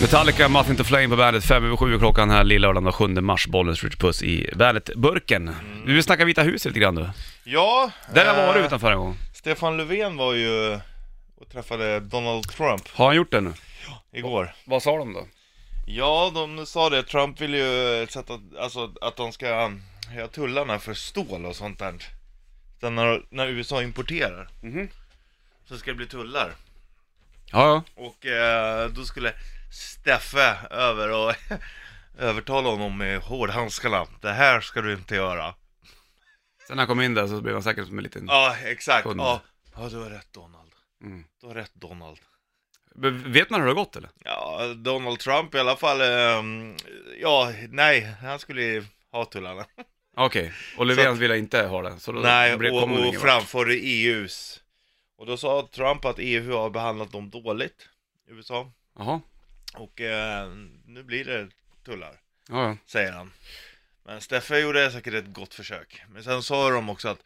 Metallica, Muffin to Flame på bandet, fem över sju är klockan här lillördagen den 7 mars, Bollens Rich Puss i bandet-burken. Vi vill snacka Vita huset lite grann du. Ja, Där har jag Mm. eh, varit utanför en gång. Stefan Löfven var ju och träffade Donald Trump Har han gjort det nu? igår. Vad sa de då? Ja, de sa det. Trump vill ju sätta, alltså att de ska höja tullarna för stål och sånt där. Sen när, när USA importerar Mhm. så ska det bli tullar. Ja, ja. Och eh, då skulle Steffe över och övertala honom med hårdhandskarna. Det här ska du inte Mm. göra. Sen när han kom in där så blev han säkert som en liten... Ja, exakt. Kunde. Ja, ja, du har rätt Donald. Mm. Du har rätt Donald. Men Vet man hur det har gått eller? Ja, Donald Trump i alla fall, ehm, ja, nej, han skulle ju ha tullarna. Okej, och Så Löfven att- ville inte ha det, så då nej, blev- och, kom det och ingen vart. framförde EUs. Och då sa Trump att EU har behandlat dem dåligt, USA. Jaha, Och eh, nu blir det tullar, ja, ja. säger han. Men Steffe gjorde säkert ett gott försök. Men sen sa de också att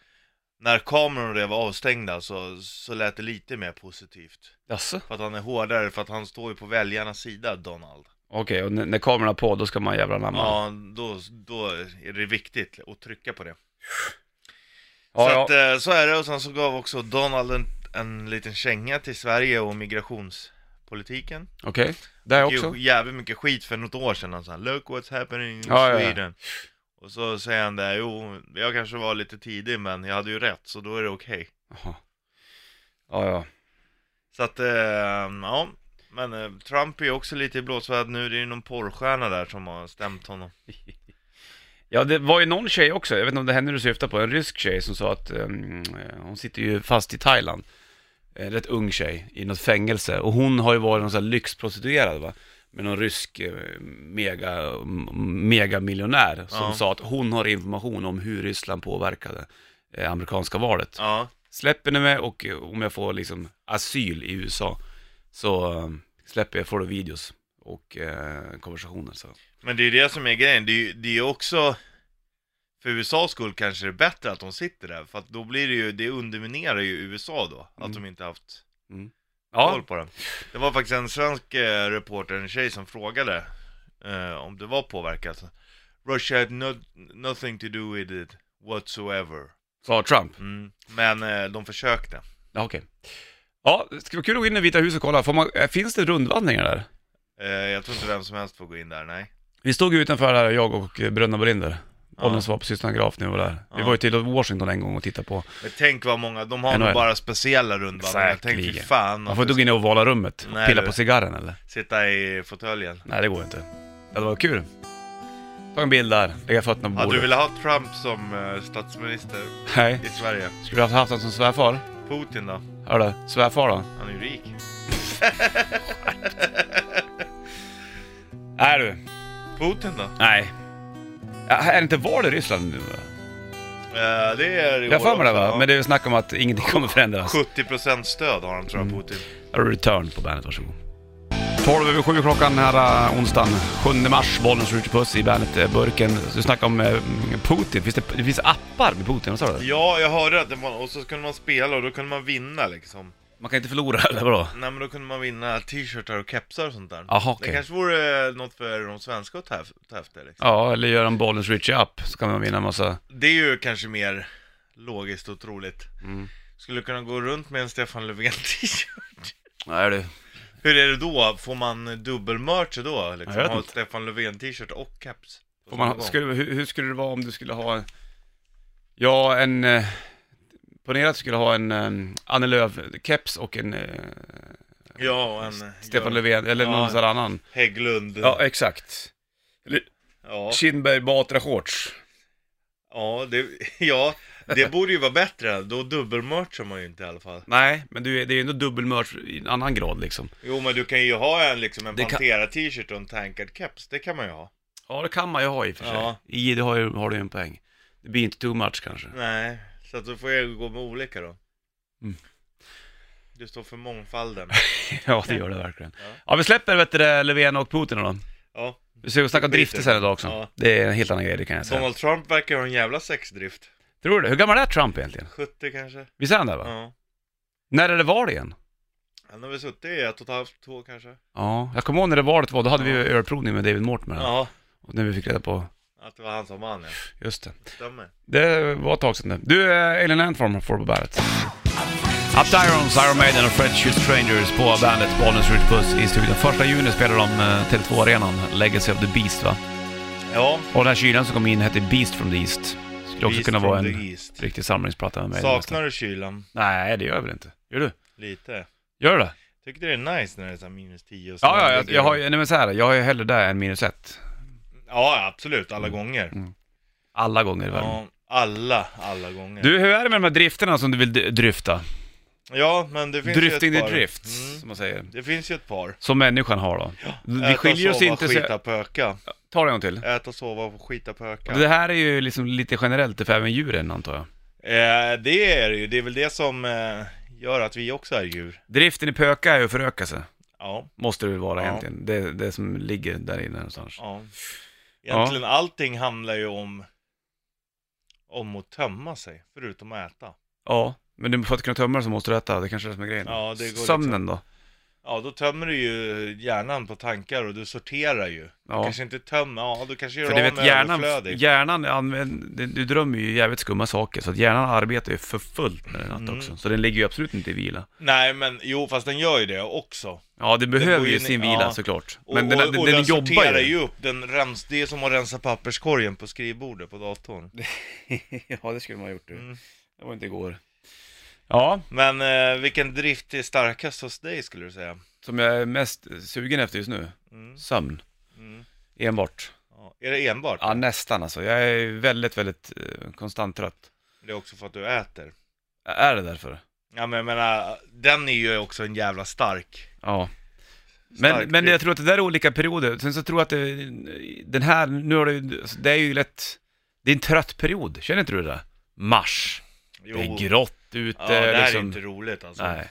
när kameror och det var avstängda så, så lät det lite mer positivt. Jaså? För att han är hårdare, för att han står ju på väljarnas sida, Donald. Okej, och när, när kameran är på då ska man jävla anamma? Ja, då, då är det viktigt att trycka på det. ja, så, ja. att, eh, så är det, och sen så gav också Donald en, en liten känga till Sverige och migrationspolitiken. okej. Där Det är också? ju jävligt mycket skit för något år sedan, han sa 'Look what's happening in Ja, ja, ja. Sweden' Och så säger han det, jo, jag kanske var lite tidig men jag hade ju rätt, så då är det okej. Jaha. Ja, ja. Så att, eh, ja. Men eh, Trump är ju också lite i blåsväder nu, det är ju någon porrstjärna där som har stämt honom. Ja, det var ju någon tjej också, jag vet inte om det är henne du syftar på, en rysk tjej som sa att ehm, eh, hon sitter ju fast i Thailand, en rätt ung tjej, i något fängelse. Och hon har ju varit någon sån här lyxprostituerad va, med någon rysk eh, mega, m- megamiljonär som Ja. sa att hon har information om hur Ryssland påverkade eh, amerikanska valet. Ja, Släpper ni mig och eh, om jag får liksom asyl i USA så eh, släpper jag, får du videos och eh, konversationer så. Men det är ju det som är grejen, det är ju det är ju också för USAs skull kanske det är bättre att de sitter där, för att då blir det ju, det underminerar ju USA då, att de inte haft koll Mm. Ja, på den. Det var faktiskt en svensk eh, reporter, en tjej som frågade eh, om det var påverkat. Russia had no, nothing to do with it whatsoever. sa Trump. Mm. Men eh, de försökte. Ja, okej. Ja, det ska vara kul att gå in i Vita huset och kolla. Får man, eh, finns det rundvandringar där? Eh, jag tror inte vem som helst får gå in där, nej. Vi stod ju utanför här, jag och eh, Bröderna Bolinder. Ja. Ålderns var på Systrarna Graf när vi var där. Vi Ja. var ju till Washington en gång och tittade på. Men tänk vad många, de har NHL. nog bara speciella rundvandringar. Tänk fy Säkerligen. fan Man att får inte gå in i ovala rummet och Nej, pilla du. på cigarren eller? sitta i fåtöljen. Nej, det går inte. Det hade varit kul. Ta en bild där, lägga fötterna på Hade du bordet. velat ha Trump som eh, statsminister Nej. i Sverige? Skulle du ha haft honom som svärfar? Putin då? Hörru, svärfar då? Han är ju rik. Nej du. Putin då? Nej. Ja, Är det inte val i Ryssland nu? va? Eh, det är i Jag har år för mig det också, va? ja. Men det är ju snack om att ingenting kommer förändras. 70% stöd har han tror Mm. jag, Putin. Här har du Return på bandet, varsågod. 12 över 7 klockan den här äh, onsdagen, 7 mars, bollen skjuter puss i bandet-burken. Du snackade om eh, Putin, finns det, det finns appar med Putin, vad sa du? Ja, jag hörde att det var, och så kunde man spela och då kunde man vinna liksom. Man kan inte förlora eller vadå? Nej men då kunde man vinna t-shirtar och kepsar och sånt där. Jaha, okej. Det kanske vore eh, något för de svenska att ta ef- ta efter liksom. Ja, eller göra en bollens reach up så kan man vinna en massa... Det är ju kanske mer logiskt och troligt. Mm. Skulle kunna gå runt med en Stefan Löfven t-shirt. Nej du. Hur är det då? Får man dubbelmerch då? Liksom? Jag vet ha inte. Stefan Löfven t-shirt och caps? Får man, skulle, hur, hur skulle det vara om du skulle ha... Ja, en... Eh, ponera att du skulle ha en eh, Annie Lööf-keps och en eh, Ja, och en Stefan Göran Löfven, eller någon Ja. sån här annan. Hägglund. Ja, Ja, exakt. Eller ja. Kinberg Batra-shorts. det, ja, det borde ju vara bättre. Då dubbelmerchar man ju inte i alla fall. Nej, men du, är- det är ju ändå dubbelmörd i en annan grad liksom. Jo, men du kan ju ha en, liksom, en Det kan- Pantera t-shirt och en tankad keps. Det kan man ju ha. Ja, det kan man ju ha i och för sig. Ja. I det har, ju, har du ju en poäng. Det blir inte too much kanske. Nej, så att då får jag gå med olika då. Mm. Du står för mångfalden. ja, det gör det verkligen. Ja, Ja. vi släpper vet du, det, Löfven och Putin då. Ja. Vi ska snacka om drifter sen idag också. Ja. Det är en helt annan grej, det kan jag säga. Donald Trump verkar ha en jävla sexdrift. Tror du det? Hur gammal är Trump egentligen? 70 kanske? Visst är han där va? Ja. När är det val igen? Han har väl suttit i ett och ett halvt, två kanske? Ja, jag kommer ihåg när det valet var, då hade vi Ja. ju ölprovning med David Mortimer. Ja, Och när vi fick reda på, att det var han som vann ja. just det. Det stämmer. Det var ett tag sedan det. Du, eh, Alien Antform får på bandet. Up to Irons, Iron Maiden och Fred Shoot Strangers på bandet Bollnäs Ritch Puss i studion. Första juni spelar de eh, Tele2-arenan, Legacy of the Beast va? Ja, Och den här kylan som kom in hette Beast from the East. Skulle också Beast kunna vara from en the East. riktig samlingsplatta med mig. Saknar du kylan? Nej, det gör jag väl inte. Gör du? Lite. Gör du det? Tycker det är nice när det är så här minus 10 och så Ja, ja, här jag, ligger jag har de- ju, nej men så här, jag har ju hellre det än minus ett. Ja, absolut, Mm, alla gånger. Alla gånger i världen. Ja, alla, alla gånger. Du, hur är det med de här drifterna som du vill d- dryfta? Ja, men det finns Drifting ju the ett par. drifts, Mm. som man säger. Det finns ju ett par. Som människan har då. Vi skiljer oss inte så... så... Skita pöka. Ta det en gång till. Äta, sova, skita pöka. Det här är ju liksom lite generellt för även djuren antar jag. Eh, det är det ju, det är väl det som eh, gör att vi också är djur. Driften i pöka är ju att föröka sig. Ja, Måste det väl vara Ja. egentligen. Det, det som ligger där inne någonstans. ja. Egentligen allting handlar ju om, om att tömma sig, förutom att äta. Ja. Men du, för att kunna tömma det så måste du äta. Det kanske är det som är grejen. Ja, det går liksom. Sömnen då? Ja, då tömmer du ju hjärnan på tankar och du sorterar ju. Ja. Kanske inte tömmer, ja du kanske gör För du av vet med hjärnan, överflödigt. hjärnan använder, du drömmer ju jävligt skumma saker. Så att hjärnan arbetar ju för fullt när den natt Mm. också. Så den ligger ju absolut inte i vila. Nej men jo, fast den gör ju det också. Ja, det behöver går ju in i- sin vila ja. såklart. Och, Men den, och, den, och den, den jobbar sorterar ju. ju upp, den rens, det är som att rensa papperskorgen på skrivbordet på datorn. ja, det skulle man ha gjort. Mm. Det var inte igår. Ja, Men eh, vilken drift är starkast hos dig skulle du säga? som jag är mest sugen efter just nu. Mm, Sömn. mm, Enbart. ja. Är det enbart? Ja, nästan alltså. Jag är väldigt, väldigt eh, konstant trött. Det är också för att du äter. Är det därför? Ja men jag menar, den är ju också en jävla stark. Ja. Men, Stark men jag drift. tror att det där är olika perioder. Sen så tror jag att det, den här, nu har du, alltså, det är ju lätt, det är en trött period. Känner inte du det? Mars. Jo, Det är grått ute. Ja, det här liksom. är inte roligt alltså. Nej.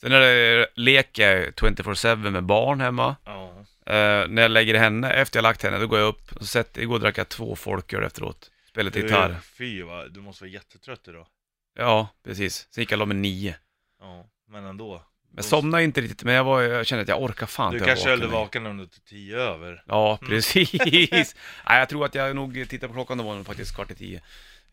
Sen när det leker 24-7 med barn hemma. Ja. Eh, när jag lägger henne, efter jag lagt henne, då går jag upp och sätter, igår drack jag två folköl efteråt. Spelade lite Du, gitarr. är- fy vad, du måste vara jättetrött idag. Ja, precis. Sen gick jag och la mig nio. Ja, men ändå. Jag somnade inte riktigt, men jag, var, jag kände att jag orkar fan Du inte kanske höll vaken dig längre. vaken Mm. under till tio över. Ja, precis. Nej, jag tror att jag nog tittade på klockan, då var det faktiskt kvart i tio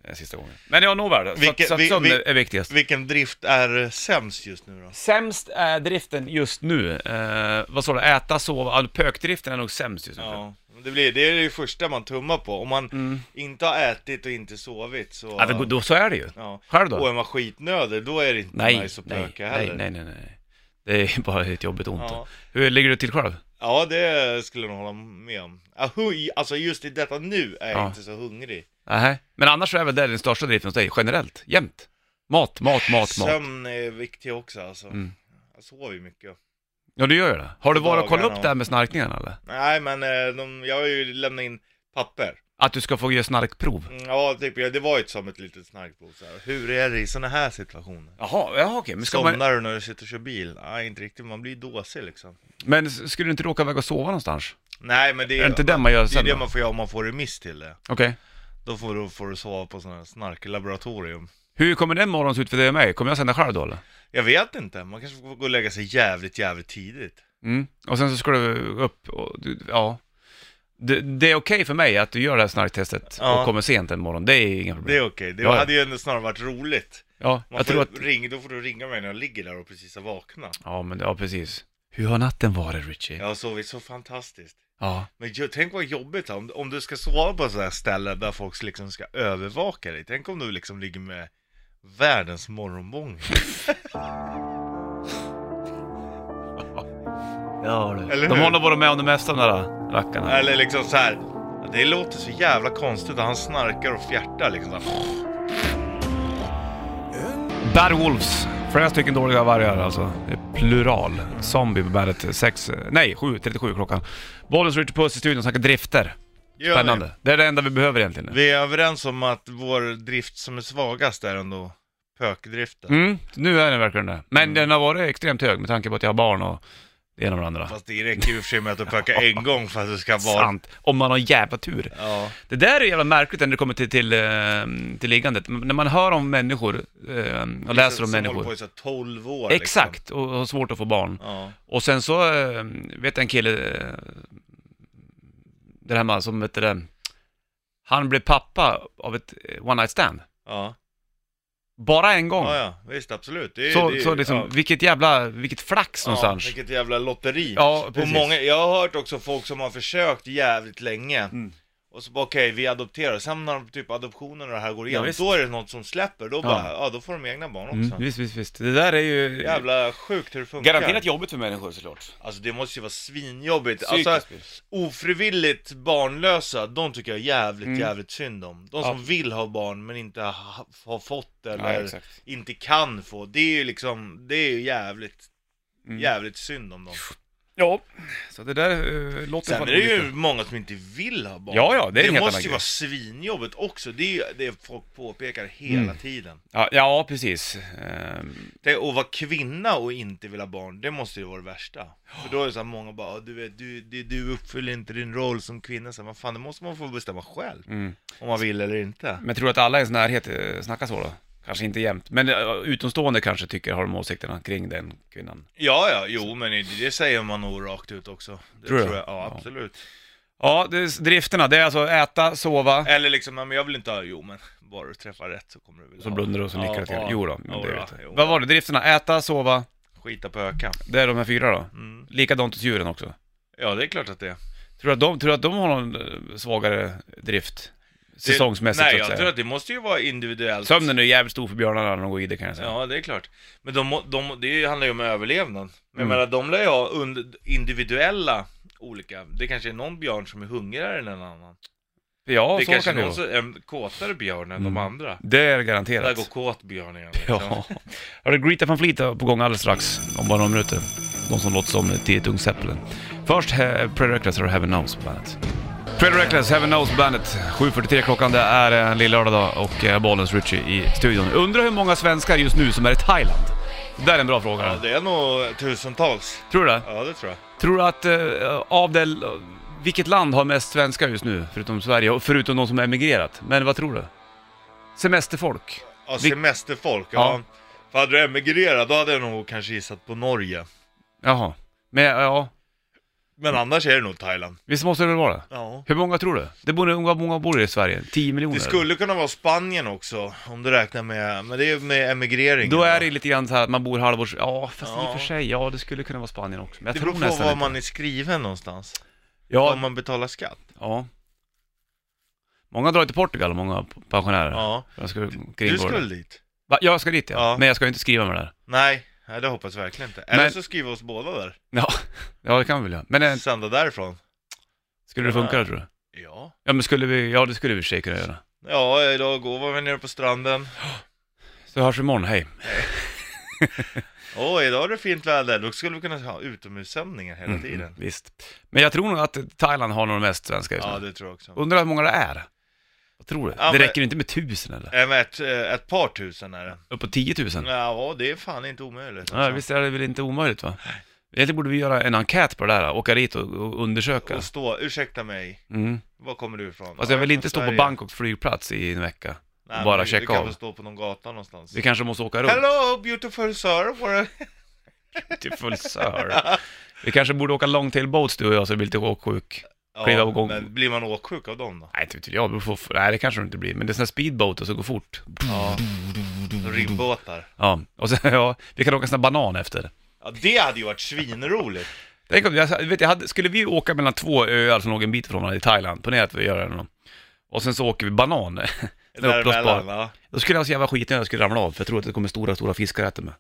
eh, sista gången. Men ja, nåväl. Så, att- Vilket- så att vi- sömn vi- är viktigast. Vilken drift är sämst just nu då? Sämst är driften just nu. Eh, vad sa du? Äta, sova? Ja, Pökdriften är nog sämst just nu. Ja. Mm. Ja, det, blir, det är det första man tummar på. Om man inte har ätit och inte sovit så... Ja, det, då, så är det ju. ja. Själv då? Och är man skitnödig, då är det inte Nej, nice att nej, pöka nej, heller. nej, nej, nej. Det är bara ett jobbigt ont. Ja. Hur ligger du till själv? Ja, det skulle jag nog hålla med om. Ahuj, Alltså just i detta nu är jag Ja. inte så hungrig. Nähä. Men annars så är väl det den största driften hos dig, generellt, jämt? Mat, mat, mat, mat. Sömn är viktig också alltså. Mm. Jag sover ju mycket. Ja, du gör ju det. Har du På varit och kollat dagarna upp det här med snarkningarna eller? Nej, men eh, de, jag har ju lämnat in papper. Att du ska få göra snarkprov? Mm, Ja, typ, ja, det var ju som ett litet snarkprov så här. Hur är det i sådana här situationer? Jaha, jaha okej. Men, ska Somnar man, du när du sitter och kör bil? Nej, inte riktigt. Man blir dåsig liksom. men s- skulle du inte råka iväg och sova någonstans? Nej, men det Är det är, inte det man gör det, är sen det då? man får göra om man får remiss till det. Okej. Då får du, får du sova på sådana här snarklaboratorium. Hur kommer den morgonen se ut för dig och mig? Kommer jag sända själv då eller? Jag vet inte. Man kanske får gå och lägga sig jävligt, jävligt tidigt. Mm. Och sen så ska du upp och, du- ja. Det, det är okej för mig att du gör det här snarktestet och Ja. kommer sent en morgon. Det är inga Det problem. är okej. Det Ja, ja. hade ju ändå snarare varit roligt. Ja, Man jag får tror att... ring, då får du ringa mig när jag ligger där och precis har vaknat. Ja, men ja, precis. Hur har natten varit, Richie? Jag har sovit så fantastiskt. Ja. Men ju- tänk vad jobbigt om, om du ska sova på sådana här ställen där folk liksom ska övervaka dig. Tänk om du liksom ligger med världens morgonbång. Ja, Eller De hur? har nog varit med om det mesta, de där rackarna. Eller liksom så här. ja, Det låter så jävla konstigt att han snarkar och fjärtar liksom. så här. Bad Wolves. Flera stycken dåliga vargar alltså. Det är Plural. Zombie på bandet. Sex, nej, 7, 37 klockan. Bollens Richard Puss i studion och snackar drifter. Gör vi. Spännande. Det är det enda vi behöver egentligen. nu. Vi är överens om att vår drift som är svagast är ändå pökdriften. Mm. Mm, nu är den verkligen det. Men den har varit extremt hög med tanke på att jag har barn och Det ena med det andra. Fast det räcker ju i och för sig med att du pökar en gång för att du ska vara... Sant. Om man har en jävla tur. Ja. Det där är jävla märkligt när det kommer till, till, eh, till liggandet. Men När man hör om människor eh, och läser om Som håller på människor. i så här 12 år Exakt, och har svårt att få barn. Liksom. Ja. Och sen så eh, vet jag en kille, eh, det här med som vet du det, han blev pappa av ett eh, one night stand. Ja. Bara en gång. ja, ja, visst absolut. Det, är- Så, det, är- så liksom, ja. vilket jävla, vilket flax någonstans. Ja, vilket jävla lotteri. Ja, och precis. många, jag har hört också folk som har försökt jävligt länge. Mm. Och så bara okej, vi adopterar. Sen när de typ adoptionen och det här går igenom, visst. då är det något som släpper. Då bara, ja då får de egna barn också. Mm, visst, visst, visst. Det där är ju Jävla sjukt hur det funkar. garanterat jobbigt för människor såklart. Alltså det måste ju vara svinjobbigt. Psykiskt. Alltså ofrivilligt barnlösa, de tycker jag jävligt, jävligt synd om. De som Mm. Ja. vill ha barn men inte ha, har fått eller exakt. inte kan få. Det är ju liksom, det är ju jävligt, jävligt synd om dem. Ja, så det där eh, låter Sen är fan det ju olika. många som inte vill ha barn. Ja, ja, det är en det helt måste annan ju grej. vara svinjobbigt också. Det är ju det folk påpekar hela Mm. tiden. Ja, ja precis. Ehm, Det, och vara kvinna och inte vilja ha barn, det måste ju vara det värsta. För då är det så här, många bara, "Ah, du, vet, du, du, du uppfyller inte din roll som kvinna. Så här, vad fan, det måste man få bestämma själv. Mm. Om man vill eller inte. Men tror du att alla i ens närhet eh, snackar så då? Kanske inte jämt, men eh, utomstående kanske tycker, har de åsikterna kring den kvinnan. Ja, ja, jo, men det- det säger man nog rakt ut också. Det Tror tror du? jag. Ja, Ja. absolut. Ja, det är drifterna, det är alltså äta, sova, Eller liksom, "Ja, men jag vill inte ha, jo men, bara du träffar rätt så kommer du vilja så ha. blundar du och så nickar du till. Ja, Jo då, men ja, det ja, vet jag. jo. Vad var det, drifterna? Äta, sova, Skita på öka. det är de här fyra då. Mm. Likadant hos djuren också. Ja, det är klart att det är. Tror du att de, tror du att de har någon eh, svagare drift? Säsongsmässigt Nej, så jag att säga. tror att det måste ju vara individuellt. Sömnen är jävligt stor för björnarna när de går i det kan jag säga. Ja, det är klart. Men de, må- de, det handlar ju om överlevnad. Men Mm. jag menar, de lär ju ha und- individuella olika. Det kanske är någon björn som är hungrigare än en annan. Ja, det så kanske kan är det någon vara. som är en kåtare björn än Mm. de andra. Det är Där garanterat. går kåt björn igen. liksom. Ja. Hörru, Greta van Fleet är på gång alldeles strax, om bara några minuter. De som låter som tidigt Ung Zeppelin. Först he- Pretty Reckless och Heaven Knows på bandet. Pretty Reckless, Heaven Knows på bandet. 7.43 klockan, det är en lilla lördag då och eh, Bollens Ritchie i studion. Undrar hur många svenskar just nu som är i Thailand? Det där är en bra fråga. Ja, det är nog tusentals. Tror du det? Ja, det tror jag. Tror du att eh, av det, vilket land har mest svenskar just nu, förutom Sverige, och förutom de som har emigrerat? Men vad tror du? Semesterfolk? Ja, Vi- semesterfolk. Ja. Ja. För hade du emigrerat, då hade jag nog kanske gissat på Norge. Jaha. Men ja, Mm. Men annars är det nog Thailand. visst måste det väl vara det? Ja. Hur många tror du? Det bor, hur många bor i Sverige? 10 miljoner? Det skulle kunna vara Spanien också, om du räknar med, men det är med emigrering. Då är det lite grann så här att man bor halvårs... Ja, fast i Ja. och för sig, ja det skulle kunna vara Spanien också. Men jag Det tror beror på nästan var inte. man är skriven någonstans. Ja, Om man betalar skatt. ja. Många drar till Portugal, många pensionärer. Ja. Jag ska Du kringgå skulle det. dit? Va, Jag ska dit ja. Ja. men jag ska ju inte skriva med det där. Nej, nej, det hoppas jag verkligen inte. Eller Men- så skriver oss båda där. Ja, ja det kan vi väl göra. Men eh, Sända därifrån. skulle det funka då tror du? Ja. Ja men skulle vi, ja det skulle vi i och för sig kunna göra. Ja, idag går var vi nere på stranden. Så hörs vi imorgon, hej. Åh, idag är det fint väder. Då skulle vi kunna ha utomhussändningar Mm, hela tiden. visst. Men jag tror nog att Thailand har nog mest svenskar just nu. Ja, det tror jag också. Undrar hur många det är? Vad tror du? Ja, det men- räcker inte med tusen eller? Även ett, eh, ett par tusen är det. Uppåt 10 000? Ja, det är fan inte omöjligt. alltså. Ja, visst är det väl inte omöjligt va? Egentligen borde vi göra en enkät på det där, åka dit och, och undersöka. Och stå, ursäkta mig, Mm. var kommer du ifrån? Alltså jag Ja, vill är inte från stå på Sverige. Bangkoks flygplats i en vecka. Nej, och bara men du- checka Du kan av. väl stå på någon gata någonstans. Vi kanske måste åka runt. Hello beautiful sir, what Till full sör. Vi kanske borde åka longtail boats du och jag så vi blir lite åksjuk. a... Kliva på gång. men blir man åksjuk av dem då? Nej, inte vet jag. Det beror på- Nej, det kanske det inte blir. Men det är såna här speedboats som går fort. Ja, ribbåtar. Ja, och sen, ja, vi kan åka såna banan efter. Ja, det hade ju varit svinroligt. Tänk om, jag, vet, jag hade, skulle vi åka mellan två öar som låg en bit från varandra i Thailand, ponera att vi gör det eller något. Och sen så åker vi banan. Den är Däremellan, uppblåsbar. va? Då skulle jag ha så jävla skiten jag skulle ramla av, för jag tror att det kommer stora, stora fiskar äta mig.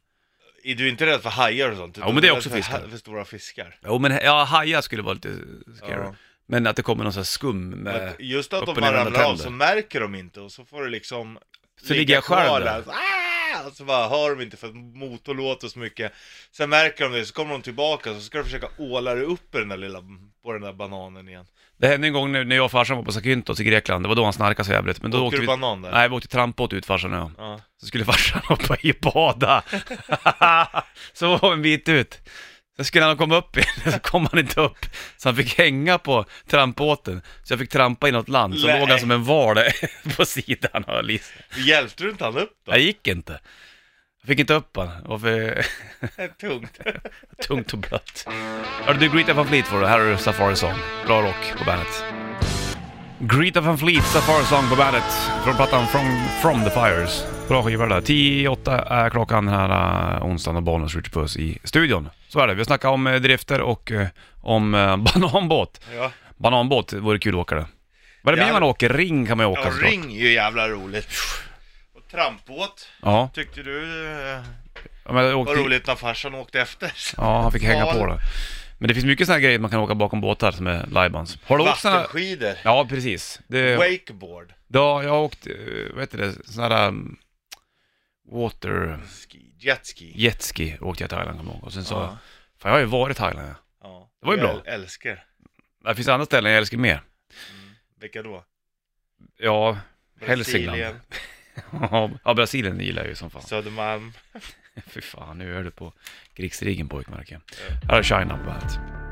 Är du inte rädd för hajar och sånt? Jo, men det är Du också rädd för fiskar. ha- För stora fiskar. Jo men ja, hajar skulle vara lite scary. Ja. Men att det kommer någon sån här skum med... Att Just att upp de och bara ner under ramlar av Eh, tänder. så märker de inte och så får du liksom Så ligger jag själv kvar där. där. Ah! Och Så bara hör de inte för att motorn låter så mycket. Sen märker de det, så kommer de tillbaka så ska de försöka åla dig upp i den där lilla, på den där bananen igen. Det hände en gång nu när jag och farsan var på Zakynthos i Grekland, det var då han snarkade så jävligt. Men då Åkte åkte du vi... banan där? Nej, vi åkte trampbåt ut farsan och jag. Ja. Så skulle farsan hoppa i och bada. så var vi en bit ut. Sen skulle han komma upp igen, så kom han inte upp. Så han fick hänga på trampbåten. Så jag fick trampa i något land, så Nej. låg han som en val på sidan av Lisa. Hjälpte du inte han upp då? Jag gick inte. Jag fick inte upp han. Det var för Det är tungt. tungt och blött. Hörde du Greta Van Fleet får du. Här har du Safari Song. Bra rock på bandet. Greta Van Fleet, Safari Song på bandet. Från plattan From, From the Fires. Bra skiva det där. 10 i 8 är klockan den här uh, onsdagen och Bollnäs Richard Puss i studion. Så är det. Vi har snackat om eh, drifter och eh, om eh, bananbåt. Ja, Bananbåt, det vore kul att åka det. Vad är det mer Ja. man åker? Ring kan man ju åka ja såklart. ring är ju jävla roligt. Och trampbåt Ja, tyckte du eh, men jag var åkte, roligt när farsan åkte efter. Ja, han fick hänga Ja. på det. Men det finns mycket sådana grejer man kan åka bakom båtar som är lajbans. Har du åkt sådana... Vattenskidor, Ja, precis. Det, wakeboard, ja, jag har åkt, eh, vad heter det, sådana där um, water ski, jetski. jetski åkte jag till Thailand kommer jag ihåg. Och sen så, Ja, fan jag har ju varit i Thailand ja. ja. Det var ju Jag bra. Älskar. Det finns andra ställen jag älskar mer. Vilka då? Ja, Hälsingland. Brasilien, ja, Brasilien gillar jag ju som fan. Södermalm. Fy fan, nu är du på krigsrigen pojkmarken. Här är China på bandet.